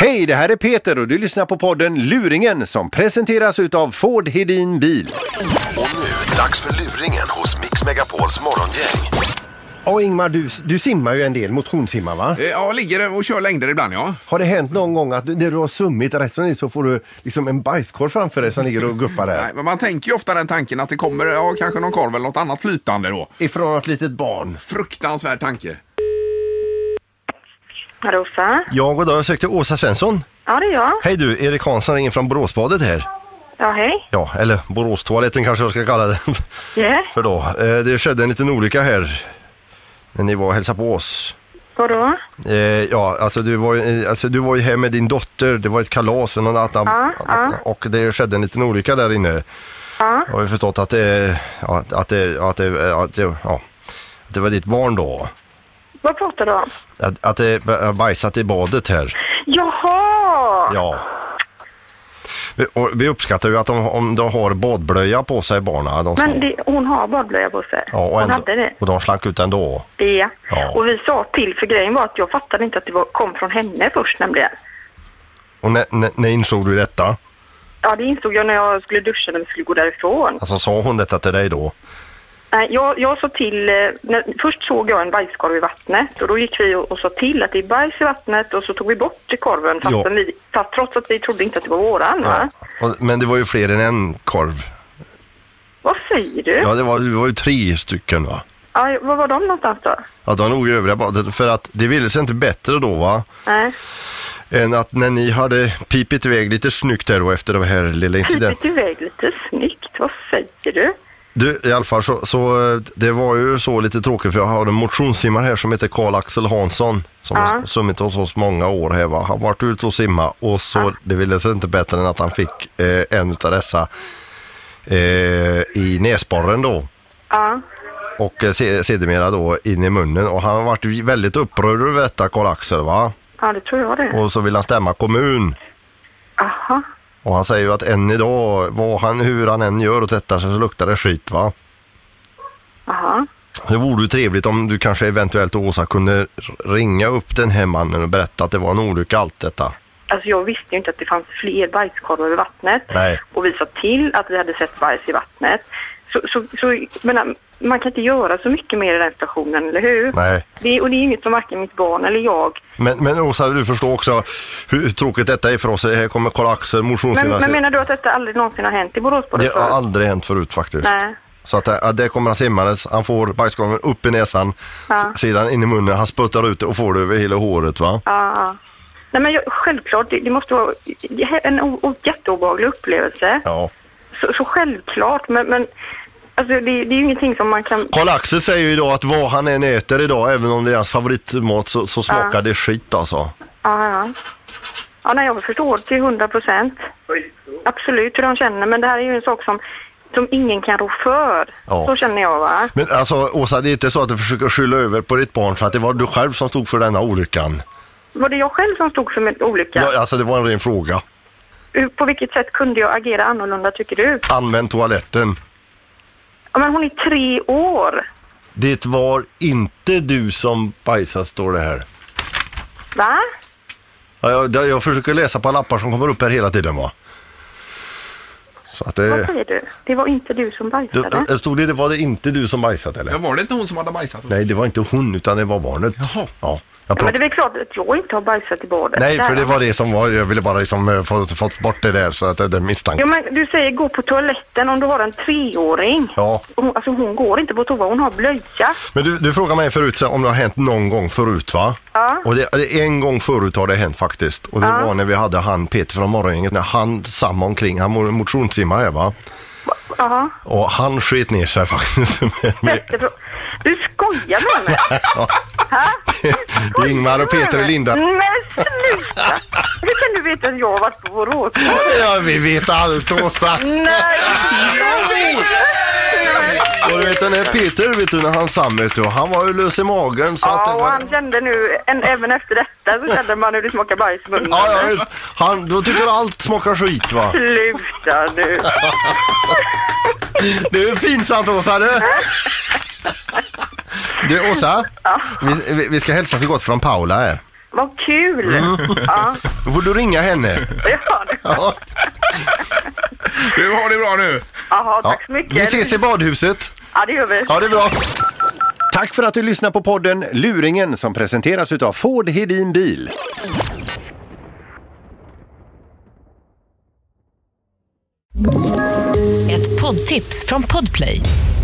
Hej, det här är Peter och du lyssnar på podden Luringen som presenteras utav Ford Hedin Bil. Och nu, dags för luringen hos Mix Megapols morgongäng. Ja, Ingmar, du, du simmar ju en del, motionssimmar va? Eh, Ja, ligger och kör längder ibland ja. Har det hänt någon gång att när du har summit rätt som det är så får du liksom en bajskorv framför dig som ligger och guppar där? Nej, men man tänker ju ofta den tanken att det kommer ja, kanske någon korv eller något annat flytande då. Ifrån ett litet barn. Fruktansvärd tanke. Rosa? Ja, goddag, jag sökte Åsa Svensson. Ja, det är jag. Hej du, Erik Hansson ringer från Boråsbadet här. Ja, hej. Ja, eller Boråstoaletten kanske jag ska kalla den Yeah. för då. Eh, Det skedde en liten olycka här när ni var och hälsade på oss. Vadå? Eh, ja, alltså du, var, ju- eh, alltså du var ju här med din dotter, det var ett kalas för någon annan. Ja, ja. Och det skedde en liten olycka där inne. Ja. Jag har ju förstått att det, ja, att det, att det, att det, ja, att det var ditt barn då. Vad pratar du om? Att, att det har bajsat i badet här. Jaha! Ja. Vi, och vi uppskattar ju att de, om de har badblöja på sig barna. De små. Men det, hon har badblöja på sig. ja, och, hon ändå, hade det. och de slank ut ändå. Ja. Ja. Och vi sa till, för grejen var att jag fattade inte att det var, kom från henne först nämligen. Och när, när, när insåg du detta? Ja, det insåg jag när jag skulle duscha när vi skulle gå därifrån. Alltså sa hon detta till dig då? Nej, Jag, jag sa till, eh, när, först såg jag en bajskorv i vattnet och då gick vi och, och sa till att det är bajs i vattnet och så tog vi bort korven fastän Ja. vi, fast, trots att vi trodde inte att det var våran. Va? Och, men det var ju fler än en korv. Vad säger du? Ja, det var, det var ju tre stycken va? Ja, var var de någonstans då? Ja, de låg i övriga badet. För att det ville sig inte bättre då va? Nej. Än att när ni hade pipit iväg lite snyggt här då efter den här lilla incidenten. Pipit iväg lite snyggt, vad säger du? Du, i alla fall så, så eh, det var ju så lite tråkigt för jag har en motionssimmare här som heter Karl-Axel Hansson. Som har simmit hos oss många år här va. Han varit ute och simma och så det ville sig inte bättre än att han fick eh, en utav dessa eh, i näsborren då. Ja, och eh, se- sedermera då in i munnen. Och han har varit ju väldigt upprörd över detta, Karl-Axel. Va? ja det tror jag det. Och så vill han stämma kommun. Aha. Och han säger ju att än idag, vad han, hur han än gör och tvättar sig så luktar det skit. Va? Aha. Det vore ju trevligt om du kanske eventuellt Åsa kunde r- ringa upp den här mannen och berätta att det var en olycka allt detta. Alltså jag visste ju inte att det fanns fler bajskorvar i vattnet. Nej. Och vi sa till att vi hade sett bajs i vattnet. Så, så, så jag menar, man kan inte göra så mycket mer i den stationen, eller hur? Nej. Det, och det är inget som varken mitt barn eller jag... Men, men Åsa, du förstår också hur tråkigt detta är för oss. Här kommer Karl-Axel, Men, motionssimmare. men menar du att detta aldrig någonsin har hänt i Borås? på Det det har sättet? aldrig hänt förut faktiskt. Nej. Så att det, att det kommer han simmandes, han får bajskorven upp i näsan, Ja. s- sedan in i munnen, han sputtar ut det och får det över hela håret va? Ja, ja. Nej, men jag, självklart, det, det måste vara en o, o, jätteobehaglig upplevelse. Ja. Så, så självklart, men, men alltså, det, det är ju ingenting som man kan... Karl-Axel säger ju idag att vad han än äter idag, även om det är hans favoritmat, så, så smakar det skit alltså. Ja, ja. ja nej, jag förstår till hundra procent. Absolut hur de känner, men det här är ju en sak som, som ingen kan rå för. Ja. Så känner jag, va? Men alltså Åsa, det är inte så att du försöker skylla över på ditt barn för att det var du själv som stod för denna olyckan? Var det jag själv som stod för min olycka? Ja, alltså det var en ren fråga. Hur- På vilket sätt kunde jag agera annorlunda, tycker du? Använd toaletten. Ja, men hon är tre år, Det var inte du som bajsade står det här. va? Ja, jag, jag försöker läsa på lappar som kommer upp här hela tiden va. Så att Vad det... säger du? Det var inte du som Eh. Du, bajsade. äh, stod det, det var det inte du som bajsat eller? Men var det inte hon som hade bajsat? Nej, det var inte hon utan det var barnet. Jaha. Ja, jag Ja, pratar- men det är väl klart att jag inte har bajsat i badet. Nej, för Där. det var det som var, jag ville bara liksom eh, få, fått bort det där så att eh, det är misstanke. Ja, men du säger gå på toaletten om du har en treåring. Ja. Hon, alltså hon går inte på toa, hon har blöja. Men du, du frågade mig förut så om det har hänt någon gång förut va? Ja. Och det, det, en gång förut har det hänt faktiskt. Och det var när vi hade han Peter från morgongänget, när han samma omkring, han mo- motionssimmar här va? Jaha. Och han sket ner sig faktiskt. Men- Bäste frå- Du skojar med mig? Det är Ingmar och Peter och Linda. Men sluta! Hur kan du veta att jag har varit på Borås? Ja, vi vet allt Åsa. Nej! Och du vet den här Peter, vet du när han sam vet du, han var ju lös i magen så att det Ja, och var... han kände nu, en, även efter detta så kände man hur det smakar bajs i munnen. Ja, ja, visst. Han, då tycker allt smakar skit va? Sluta nu! Det är pinsamt Åsa du! Du Åsa, vi, vi- vi ska hälsa så gott från Paula här. Vad kul! Mm. Ja, Då får du ringa henne. ja, det- Ja. Du har det bra nu. Jaha, Ja. tack så mycket. Vi ses i badhuset. Ja, det gör vi. Ja, det är bra. Tack för att du lyssnar på podden Luringen som presenteras utav Ford Hedin Bil. Ett poddtips från Podplay.